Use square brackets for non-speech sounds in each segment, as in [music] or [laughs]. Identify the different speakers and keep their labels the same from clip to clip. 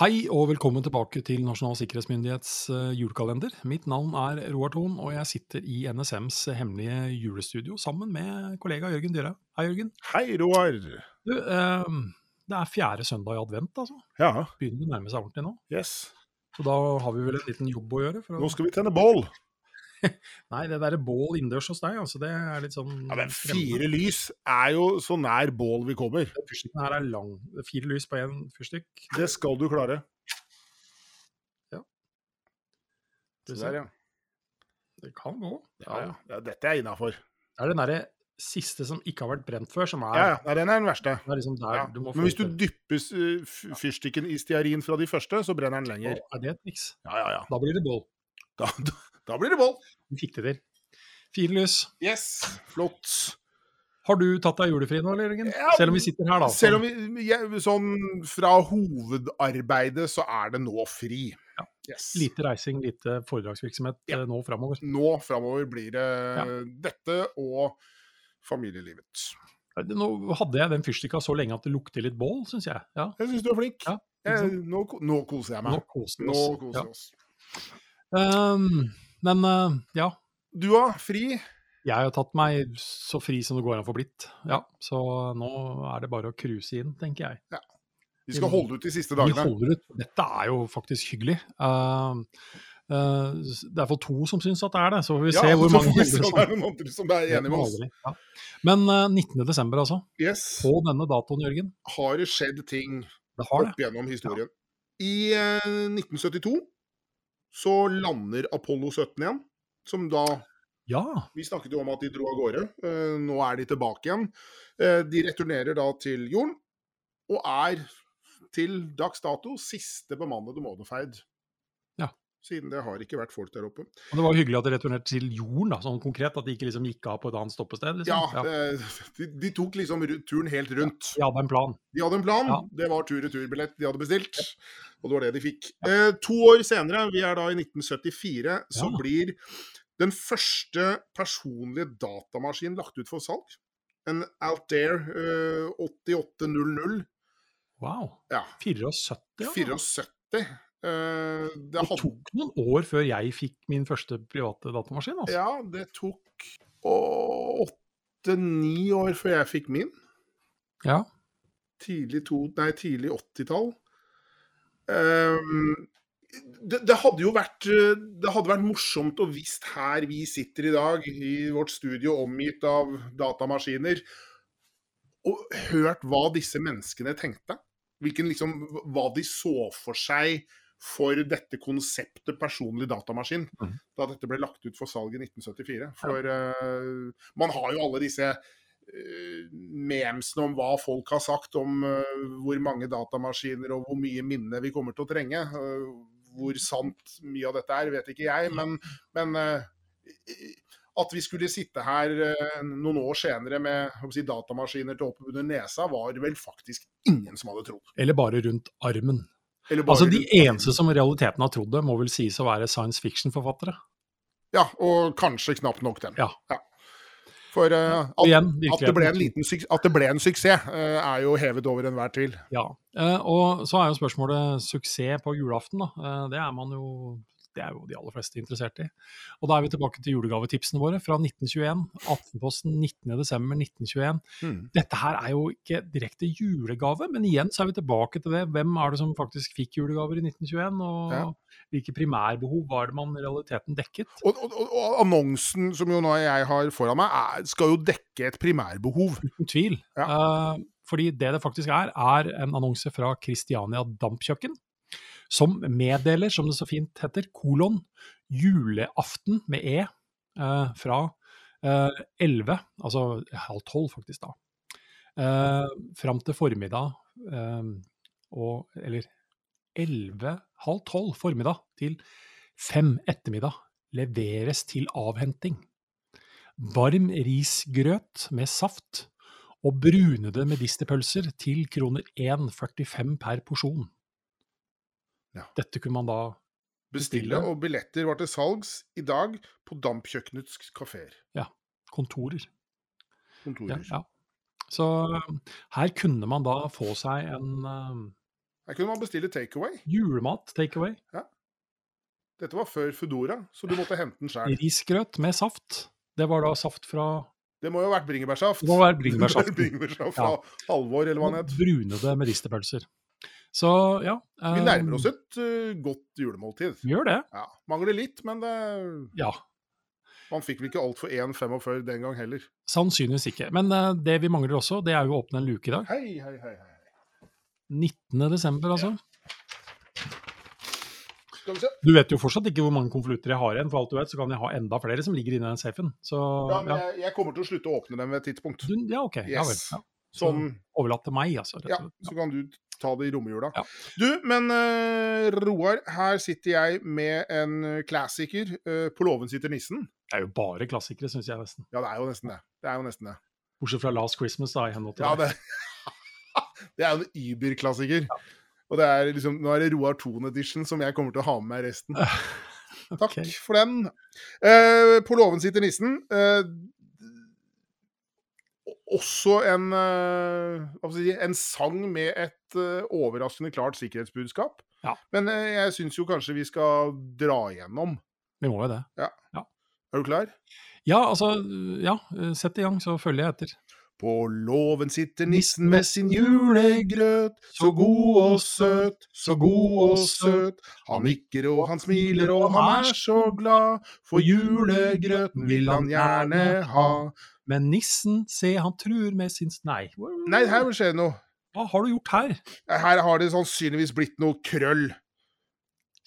Speaker 1: Hei og velkommen tilbake til Nasjonal sikkerhetsmyndighets eh, julekalender. Mitt navn er Roar Thon, og jeg sitter i NSMs hemmelige julestudio sammen med kollega Jørgen Dyrhaug. Hei, Jørgen.
Speaker 2: Hei, Roar.
Speaker 1: Du, eh, det er fjerde søndag i advent, altså.
Speaker 2: Ja,
Speaker 1: Begynner å nærme seg ordentlig nå.
Speaker 2: yes.
Speaker 1: Så da har vi vel en liten jobb å gjøre. For
Speaker 2: Nå
Speaker 1: å...
Speaker 2: skal vi tenne bål.
Speaker 1: Nei, det derre bål innendørs hos deg, altså, det er litt sånn
Speaker 2: Ja, men Fire lys er jo så nær bål vi kommer.
Speaker 1: Den Fyrstikken her er lang. Det er Fire lys på én fyrstikk.
Speaker 2: Det skal du klare.
Speaker 1: Det,
Speaker 2: Der, ja.
Speaker 1: det kan gå.
Speaker 2: Ja, ja. ja. Dette er innafor.
Speaker 1: Det er den derre siste som ikke har vært brent før, som er,
Speaker 2: Ja, ja. Nei, Den er den verste.
Speaker 1: det er liksom der
Speaker 2: Ja.
Speaker 1: du må
Speaker 2: Men hvis du
Speaker 1: til.
Speaker 2: dypper eh, f- fyrstikken i stearin fra de første, så brenner den
Speaker 1: Å,
Speaker 2: lenger.
Speaker 1: Er det et triks?
Speaker 2: Ja, ja, ja.
Speaker 1: Da blir det bål.
Speaker 2: Da, da, da blir det bål.
Speaker 1: Vi fikk det til. Fire lys.
Speaker 2: Yes. Flott.
Speaker 1: Har du tatt deg julefri nå, eller, Jørgen?
Speaker 2: Ja,
Speaker 1: Selv om vi sitter her, da.
Speaker 2: Selv om vi jeg, Sånn fra hovedarbeidet så er det nå fri.
Speaker 1: Ja.
Speaker 2: Yes.
Speaker 1: Sånn Lite reising, lite foredragsvirksomhet
Speaker 2: Ja.
Speaker 1: eh, nå framover.
Speaker 2: nå framover blir det
Speaker 1: Ja.
Speaker 2: dette og familielivet.
Speaker 1: Nå hadde jeg den fyrstikka så lenge at det lukter litt bål, syns jeg. Ja,
Speaker 2: Jeg syns du er flink.
Speaker 1: Ja, ikke
Speaker 2: jeg,
Speaker 1: sant?
Speaker 2: nå, ko- nå koser jeg
Speaker 1: nå
Speaker 2: meg.
Speaker 1: koser vi
Speaker 2: Nå
Speaker 1: oss.
Speaker 2: koser vi oss.
Speaker 1: Ja. Ehm, men eh, ja,
Speaker 2: Du har fri.
Speaker 1: jeg har tatt meg så fri som det går an å få blitt. Ja, så nå er det bare å cruise inn, tenker jeg.
Speaker 2: Vi skal holde ut de siste
Speaker 1: Vi
Speaker 2: dagene.
Speaker 1: holder ut. Dette er jo faktisk hyggelig. Ehm, eh, det er iallfall to som syns at det er det, så får vi se
Speaker 2: [laughs]
Speaker 1: hvor
Speaker 2: så
Speaker 1: mange
Speaker 2: får vi
Speaker 1: holder
Speaker 2: se om
Speaker 1: som-
Speaker 2: det er noen andre som er enig med oss.
Speaker 1: Ja. Men eh, 19. desember, altså.
Speaker 2: Yes.
Speaker 1: På denne datoen, Jørgen.
Speaker 2: Har det skjedd ting
Speaker 1: Det har det.
Speaker 2: opp gjennom historien? I eh, 1972 så lander Apollo 17 igjen, som da
Speaker 1: Ja.
Speaker 2: Vi snakket jo om at de dro av gårde. Eh, Nå er de tilbake igjen. Eh, De returnerer da til jorden, og er til dags dato siste bemannede måneferd.
Speaker 1: Ja.
Speaker 2: Siden det har ikke vært folk der oppe.
Speaker 1: Og det var jo hyggelig at de returnerte til jorden, da, sånn konkret. At de ikke liksom gikk av på et annet stoppested.
Speaker 2: Ja,
Speaker 1: Liksom.
Speaker 2: eh, de, de tok liksom ru- turen helt rundt.
Speaker 1: De hadde en plan.
Speaker 2: De hadde en plan,
Speaker 1: Ja.
Speaker 2: det var tur-retur-billett de hadde bestilt, og det var det de fikk. Eh, to år senere, vi er da i 1974, så
Speaker 1: Ja.
Speaker 2: blir den første personlige datamaskinen lagt ut for salg. En Altair eh, 8800.
Speaker 1: Wow.
Speaker 2: Ja,
Speaker 1: 74, ja.
Speaker 2: 74. Eh, det,
Speaker 1: altså. Det
Speaker 2: hadde,
Speaker 1: tok noen år før jeg fikk min første private datamaskin. Altså.
Speaker 2: ja, det tok åtte-ni år før jeg fikk min.
Speaker 1: Ja.
Speaker 2: tidlig, to, nei, tidlig 80-tall. Ehm, det, det hadde jo vært, eh, det hadde vært morsomt å visst her vi sitter i dag, i vårt studio omgitt av datamaskiner, og hørt hva disse menneskene tenkte. Hvilken, liksom, hva de så for seg for dette konseptet personlig datamaskin,
Speaker 1: Mhm.
Speaker 2: da dette ble lagt ut for salg i 1974. For eh, man har jo alle disse eh, memsene om hva folk har sagt om eh, hvor mange datamaskiner og hvor mye minne vi kommer til å trenge. Eh, hvor sant mye av dette er, vet ikke
Speaker 1: Mm.
Speaker 2: jeg, men, men eh, at vi skulle sitte her eh, noen år senere med jeg håper å si, datamaskiner til oppunder nesa, var det vel faktisk ingen som hadde trodd.
Speaker 1: Eller bare rundt armen.
Speaker 2: Eller bare
Speaker 1: Altså De
Speaker 2: rundt-
Speaker 1: eneste som i realiteten har trodd det, må vel sies å være science fiction-forfattere.
Speaker 2: Ja, og kanskje knapt nok den.
Speaker 1: Ja.
Speaker 2: For eh,
Speaker 1: Og
Speaker 2: at,
Speaker 1: igjen,
Speaker 2: at, det ble en
Speaker 1: virkeligheten.
Speaker 2: liten suks- at det ble en suksess, eh, er jo hevet over enhver tvil.
Speaker 1: Ja, eh, og så er jo spørsmålet suksess på julaften, da. Eh, Det er man jo det er jo de aller fleste interessert i. Og da er vi tilbake til julegavetipsene våre fra 1921. Aftenposten 19.12.1921. Dette her er jo ikke direkte julegave, men igjen så er vi tilbake til det. Hvem er det som faktisk fikk julegaver i 1921, og
Speaker 2: Ja.
Speaker 1: hvilke primærbehov var det man i realiteten dekket?
Speaker 2: Og, og, og- og annonsen som jo nå jeg har foran meg, er, skal jo dekke et primærbehov.
Speaker 1: Uten tvil. Eh, fordi det det faktisk er, er en annonse fra Kristiania Dampkjøkken, som meddeler, som det så fint heter, kolon juleaften med E eh, fra eh, 11, altså halv tolv faktisk da, eh, fram til formiddag, eh, og, eller 11, halv tolv formiddag til fem ettermiddag leveres til avhenting. Varm risgrøt med saft og brunede medisterpølser til kroner 1,45 per porsjon.
Speaker 2: Ja.
Speaker 1: Dette kunne man da
Speaker 2: Bestille og billetter var til salgs i dag på Dampkjøkkenets kafeer.
Speaker 1: kontorer. Ja,
Speaker 2: Kontorer.
Speaker 1: ja. Så um, her kunne man da få seg en um,
Speaker 2: Her kunne man bestille takeaway.
Speaker 1: Julemat takeaway.
Speaker 2: Dette var før Foodora, så du måtte hente den sjøl.
Speaker 1: Risgrøt med saft. Det var da saft fra
Speaker 2: Det må jo ha vært
Speaker 1: Det
Speaker 2: bringebærsaft.
Speaker 1: må være bringebærsaft.
Speaker 2: [laughs] Bringebærsaft fra Halvor, eller hva han het.
Speaker 1: Brunede medisterpølser. Så ja eh,
Speaker 2: Vi nærmer oss et eh, godt julemåltid.
Speaker 1: Gjør det.
Speaker 2: Ja, Mangler litt, men det,
Speaker 1: Ja.
Speaker 2: man fikk vel ikke alt for 1,45 den gang heller.
Speaker 1: Sannsynligvis ikke. Men eh, det vi mangler også, det er jo å åpne en luke i dag.
Speaker 2: Hei, hei, hei. hei.
Speaker 1: 19. desember, altså.
Speaker 2: Skal vi se.
Speaker 1: Du vet jo fortsatt ikke hvor mange konvolutter jeg har igjen. For alt du vet, så kan jeg ha enda flere som ligger inni den safen. Så
Speaker 2: Ja, men
Speaker 1: ja.
Speaker 2: jeg, jeg kommer til å slutte å åpne den ved et tidspunkt.
Speaker 1: Du, ja, OK. Ja vel.
Speaker 2: Yes.
Speaker 1: Ja.
Speaker 2: Sånn,
Speaker 1: Overlatt til meg, altså. Rett
Speaker 2: ja,
Speaker 1: og slett.
Speaker 2: så kan du ta det i romjula.
Speaker 1: Ja.
Speaker 2: Du, men eh, Roar, her sitter jeg med en eh, klassiker. eh, på låven sitter nissen.
Speaker 1: Det er jo bare klassikere, syns jeg nesten.
Speaker 2: Ja, det er jo nesten det. Det er jo nesten det.
Speaker 1: Bortsett fra Last Christmas, da, i henhold til
Speaker 2: Ja,
Speaker 1: deg.
Speaker 2: det, [laughs] det er jo en Uber-klassiker. Og det er liksom, nå er det Roar Thon-edition som jeg kommer til å ha med meg resten. Takk
Speaker 1: [laughs] Ok.
Speaker 2: for den. Eh, på låven sitter nissen. Eh, også en, eh, hva skal jeg si, en sang med et eh, overraskende klart sikkerhetsbudskap.
Speaker 1: Ja.
Speaker 2: Men eh, jeg syns jo kanskje vi skal dra gjennom.
Speaker 1: Vi må jo det.
Speaker 2: Er du klar?
Speaker 1: Ja, altså Ja, sett i gang, så følger jeg etter.
Speaker 2: På låven sitter nissen med sin julegrøt, så god og søt, så god og søt. Han nikker og han smiler og han er så glad, for julegrøten vil han gjerne ha.
Speaker 1: Men nissen, se, han truer med sin Nei.
Speaker 2: Nei, her vil skje noe.
Speaker 1: Hva har du gjort her?
Speaker 2: Her har det sannsynligvis blitt noe krøll.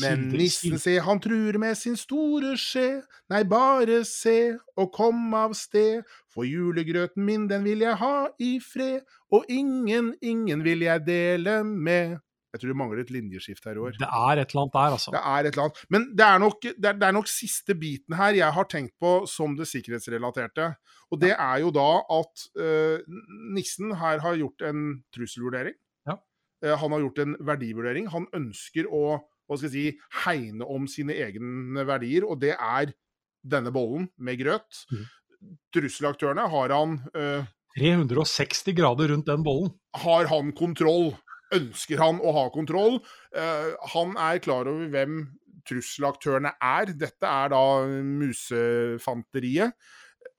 Speaker 2: Men
Speaker 1: Kilder-
Speaker 2: nissen, se, han truer med sin store skje. Nei, bare se og kom av sted, for julegrøten min, den vil jeg ha i fred, og ingen, ingen vil jeg dele med. Jeg tror det mangler et linjeskift her i år.
Speaker 1: Det er et eller annet der, altså.
Speaker 2: Det er et eller annet. Men det er, nok, det, er, det er nok siste biten her jeg har tenkt på som det sikkerhetsrelaterte. Og det er jo da at eh, nissen her har gjort en trusselvurdering.
Speaker 1: Ja.
Speaker 2: Eh, han har gjort en verdivurdering. Han ønsker å hva skal jeg si, hegne om sine egne verdier, og det er denne bollen med grøt.
Speaker 1: Mhm.
Speaker 2: Trusselaktørene har han, eh,
Speaker 1: 360 grader rundt den bollen.
Speaker 2: har han kontroll? Ønsker han å ha kontroll? Eh, han er klar over hvem trusselaktørene er. Dette er da musefanteriet.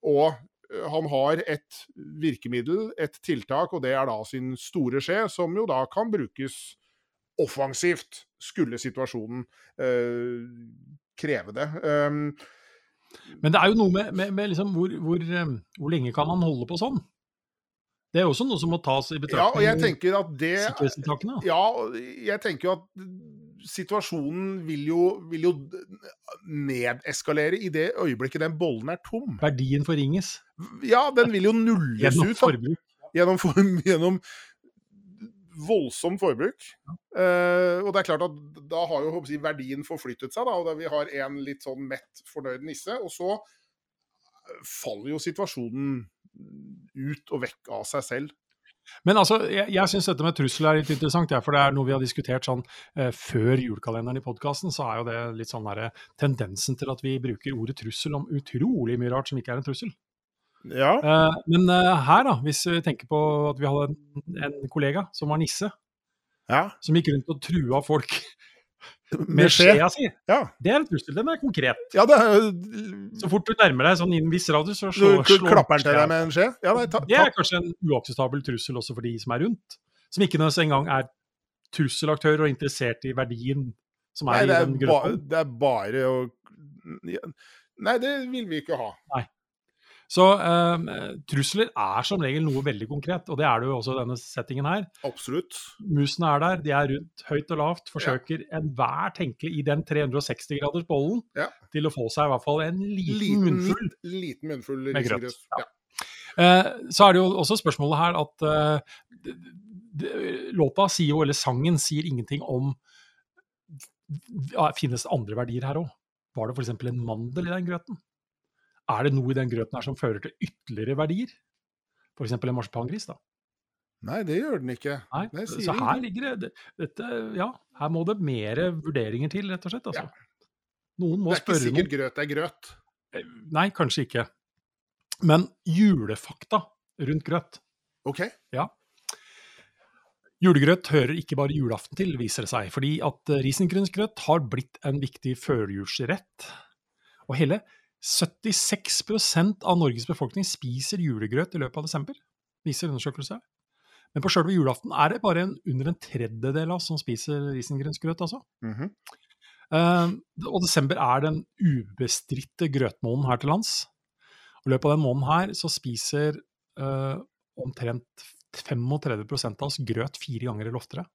Speaker 2: Og eh, han har et virkemiddel, et tiltak, og det er da sin store skje, som jo da kan brukes offensivt, skulle situasjonen eh, kreve det. Um,
Speaker 1: Men det er jo noe med, med, med liksom hvor, hvor, eh, hvor lenge kan han holde på sånn? Det er jo også noe som må tas i
Speaker 2: ja, og
Speaker 1: betraktning
Speaker 2: jeg tenker at
Speaker 1: i
Speaker 2: det
Speaker 1: sikkerhetstiltakene.
Speaker 2: Ja, og jeg tenker jo at situasjonen vil jo, vil jo nedeskalere i det øyeblikket den bollen er tom.
Speaker 1: Verdien forringes
Speaker 2: Ja, den vil jo nulles
Speaker 1: gjennom
Speaker 2: ut da,
Speaker 1: forbruk.
Speaker 2: gjennom, for, [laughs] gjennom voldsomt forbruk. Eh, og det er klart at da har jo håper jeg, å si, verdien forflyttet seg, da, og da vi har en litt sånn mett, fornøyd nisse. Og så eh, faller jo situasjonen ut og vekk av seg selv.
Speaker 1: Men altså, jeg, jeg syns dette med trussel er litt interessant, jeg, for det er noe vi har diskutert sånn eh, før julekalenderen i podkasten, så er jo det litt sånn derre tendensen til at vi bruker ordet trussel om utrolig mye rart som ikke er en trussel.
Speaker 2: Ja.
Speaker 1: Eh, men eh, her, da, hvis vi tenker på at vi hadde en, en kollega som var nisse,
Speaker 2: ja.
Speaker 1: som gikk rundt og trua folk med
Speaker 2: Med skje.
Speaker 1: skjea si,
Speaker 2: Ja.
Speaker 1: det er en trussel. Den er konkret.
Speaker 2: ja, det er jo
Speaker 1: Så fort du nærmer deg sånn i en viss radius, så
Speaker 2: Du
Speaker 1: slår, slår
Speaker 2: klapper han til deg med en skje? Ja, nei, ta,
Speaker 1: Det
Speaker 2: ta,
Speaker 1: er kanskje en uakseptabel trussel også for de som er rundt, som ikke nødvendigvis engang er trusselaktører og interessert i verdien som
Speaker 2: nei
Speaker 1: er
Speaker 2: det,
Speaker 1: i
Speaker 2: er
Speaker 1: den
Speaker 2: ba,
Speaker 1: gruppa.
Speaker 2: det er bare å ja. Nei, det vil vi ikke ha.
Speaker 1: Så eh, trusler er som regel noe veldig konkret, og det er det jo også i denne settingen her.
Speaker 2: Absolutt.
Speaker 1: Musene er der, de er rundt høyt og lavt, forsøker enhver tenkelig i den 360-graders bollen
Speaker 2: Ja.
Speaker 1: til å få seg i hvert fall en liten,
Speaker 2: Liten
Speaker 1: munnfull.
Speaker 2: munnfull. Liten munnfull
Speaker 1: Med grøt,
Speaker 2: risengrøt.
Speaker 1: ja.
Speaker 2: Ja.
Speaker 1: Eh, så er det jo også spørsmålet her at eh, d- d- låta sier jo, eller sangen sier ingenting om ja, Finnes det andre verdier her òg? Var det f.eks. en mandel i den grøten? Er det noe i den grøten her som fører til ytterligere verdier? F.eks. en marsipangris, da.
Speaker 2: Nei, det gjør den ikke.
Speaker 1: Nei.
Speaker 2: Nei, sier
Speaker 1: så her
Speaker 2: ingenting.
Speaker 1: ligger det dette, Ja, her må det mere vurderinger til, rett og slett. Altså.
Speaker 2: Ja.
Speaker 1: Noen må
Speaker 2: Det er ikke
Speaker 1: spørre noen. Eh,
Speaker 2: sikkert grøt er grøt.
Speaker 1: Nei, kanskje ikke. Men julefakta rundt grøt
Speaker 2: OK?
Speaker 1: Julegrøt hører ikke bare julaften til, viser det seg, fordi at eh, risengrynsgrøt har blitt en viktig førjulsrett. Og hele 76 av Norges befolkning spiser julegrøt i løpet av desember, viser undersøkelser. Men på sjølve julaften er det bare en, under en tredjedel av oss som spiser risengrynsgrøt, altså.
Speaker 2: Mhm.
Speaker 1: Eh, og desember er den ubestridte grøtmåneden her til lands. Og I løpet av den måneden her så spiser eh, omtrent 35 av oss grøt fire ganger eller oftere.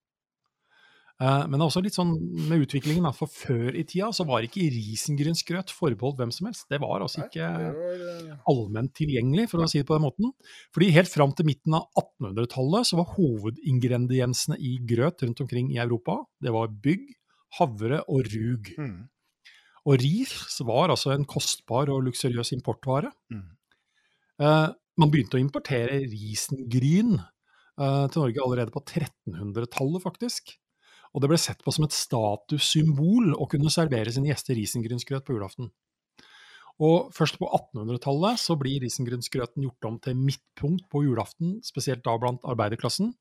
Speaker 1: Eh, men det er også litt sånn med utviklingen, da, for før i tida så var ikke risengrynsgrøt forbeholdt hvem som helst. Det var altså
Speaker 2: Nei,
Speaker 1: ikke
Speaker 2: det var, eh,
Speaker 1: allment tilgjengelig, for å si det på den måten. Fordi helt fram til midten av 1800-tallet så var hovedingrediensene i grøt rundt omkring i Europa, det var bygg, havre og rug.
Speaker 2: mhm.
Speaker 1: Og ris var altså en kostbar og luksuriøs importvare.
Speaker 2: Mm.
Speaker 1: Eh, man begynte å importere risengryn eh, til Norge allerede på 1300-tallet, faktisk. Og det ble sett på som et statussymbol å kunne servere sine gjester risengrynsgrøt på julaften. Og først på 1800-tallet så blir risengrynsgrøten gjort om til midtpunkt på julaften, spesielt da blant arbeiderklassen.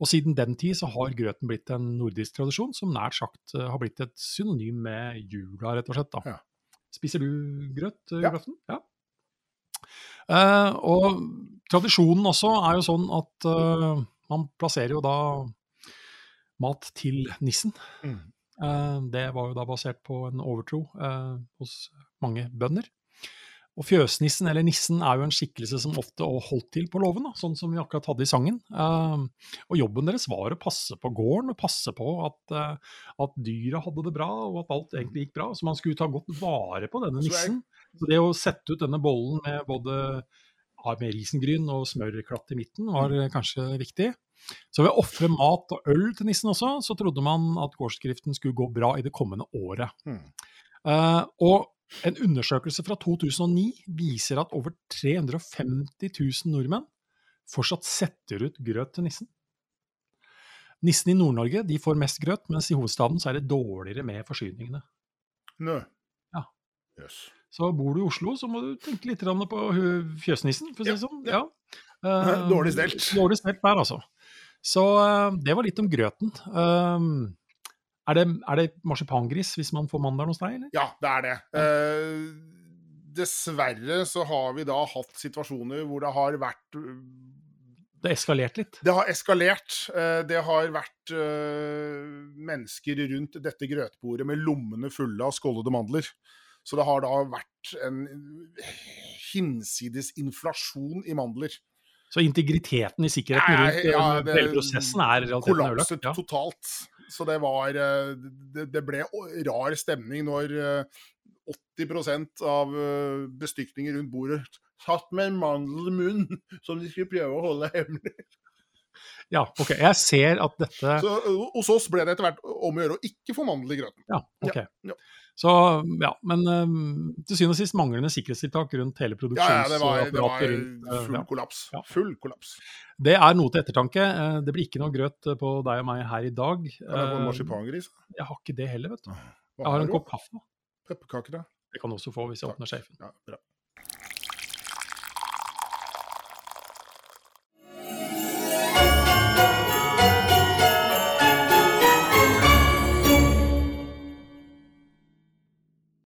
Speaker 1: Og siden den tid så har grøten blitt en nordisk tradisjon som nært sagt eh, har blitt et synonym med jula, rett og slett. da.
Speaker 2: Ja.
Speaker 1: Spiser du grøt eh,
Speaker 2: Ja.
Speaker 1: julaften? Ja. Eh, og tradisjonen også er jo sånn at eh, man plasserer jo da mat til nissen.
Speaker 2: Mhm.
Speaker 1: Eh, Det var jo da basert på en overtro eh, hos mange bønder. Og fjøsnissen, eller nissen, er jo en skikkelse som ofte er holdt til på låven, da, sånn som vi akkurat hadde i sangen. Eh, og jobben deres var å passe på gården, og passe på at, eh, at dyra hadde det bra, og at alt egentlig gikk bra. Så man skulle ta godt vare på denne
Speaker 2: Så jeg-
Speaker 1: nissen. Så det å sette ut denne bollen med både ja, med risengryn og smørklatt i midten var eh, kanskje viktig. Så ved å ofre mat og øl til nissen også, så trodde man at gårdsdriften skulle gå bra i det kommende året.
Speaker 2: Mhm.
Speaker 1: Eh, og en undersøkelse fra 2009 viser at over 350 000 nordmenn fortsatt setter ut grøt til nissen. Nissen i Nord-Norge de får mest grøt, mens i hovedstaden så er det dårligere med forsyningene.
Speaker 2: Nø.
Speaker 1: Ja.
Speaker 2: Jøss.
Speaker 1: Så bor du i Oslo, så må du tenke litt grann på hu- fjøsnissen, for å si det sånn. Ja. Eh,
Speaker 2: Dårlig stelt.
Speaker 1: Dårlig stelt der, altså. Så eh, det var litt om grøten. Eh, er det, er det marsipangris hvis man får mandelen hos deg, eller?
Speaker 2: Ja, det er det. Eh, dessverre så har vi da hatt situasjoner hvor det har vært
Speaker 1: Det eskalerte litt.
Speaker 2: Det har eskalert. Eh, Det har vært eh, mennesker rundt dette grøtbordet med lommene fulle av skållede mandler. Så det har da vært en hinsides inflasjon i mandler.
Speaker 1: Så integriteten i sikkerheten
Speaker 2: Ja, ja,
Speaker 1: rundt
Speaker 2: ja,
Speaker 1: eh,
Speaker 2: det-
Speaker 1: hele prosessen er i realiteten ødelagt.
Speaker 2: Kollapset
Speaker 1: Ja.
Speaker 2: totalt. Så det var eh, Det, det ble å- rar stemning når eh, 80 av eh, bestykninger rundt bordet satt med en mandel i munnen som de skulle prøve å holde hemmelig.
Speaker 1: ja, ok. Jeg ser at dette
Speaker 2: Så, eh, hos oss ble det etter hvert om å gjøre å ikke få mandel i grøten.
Speaker 1: Ja, ok.
Speaker 2: ja.
Speaker 1: Så, ja, men eh, til syvende og sist manglende sikkerhetstiltak rundt hele
Speaker 2: Ja, ja, det var,
Speaker 1: produksjonsapparatet
Speaker 2: det var
Speaker 1: rundt eh,
Speaker 2: full
Speaker 1: ja.
Speaker 2: kollaps.
Speaker 1: Ja.
Speaker 2: Full kollaps.
Speaker 1: Det er noe til ettertanke. Eh, Det blir ikke noe grøt eh, på deg og meg her i dag.
Speaker 2: Ja, det var
Speaker 1: Eh,
Speaker 2: marsipangris.
Speaker 1: Jeg har ikke det heller, vet du.
Speaker 2: Hva
Speaker 1: Jeg har
Speaker 2: har
Speaker 1: en
Speaker 2: du?
Speaker 1: kopp kaffe.
Speaker 2: Pepperkaker, da.
Speaker 1: Det kan du også få hvis jeg
Speaker 2: Takk.
Speaker 1: åpner safen.
Speaker 2: Ja, bra.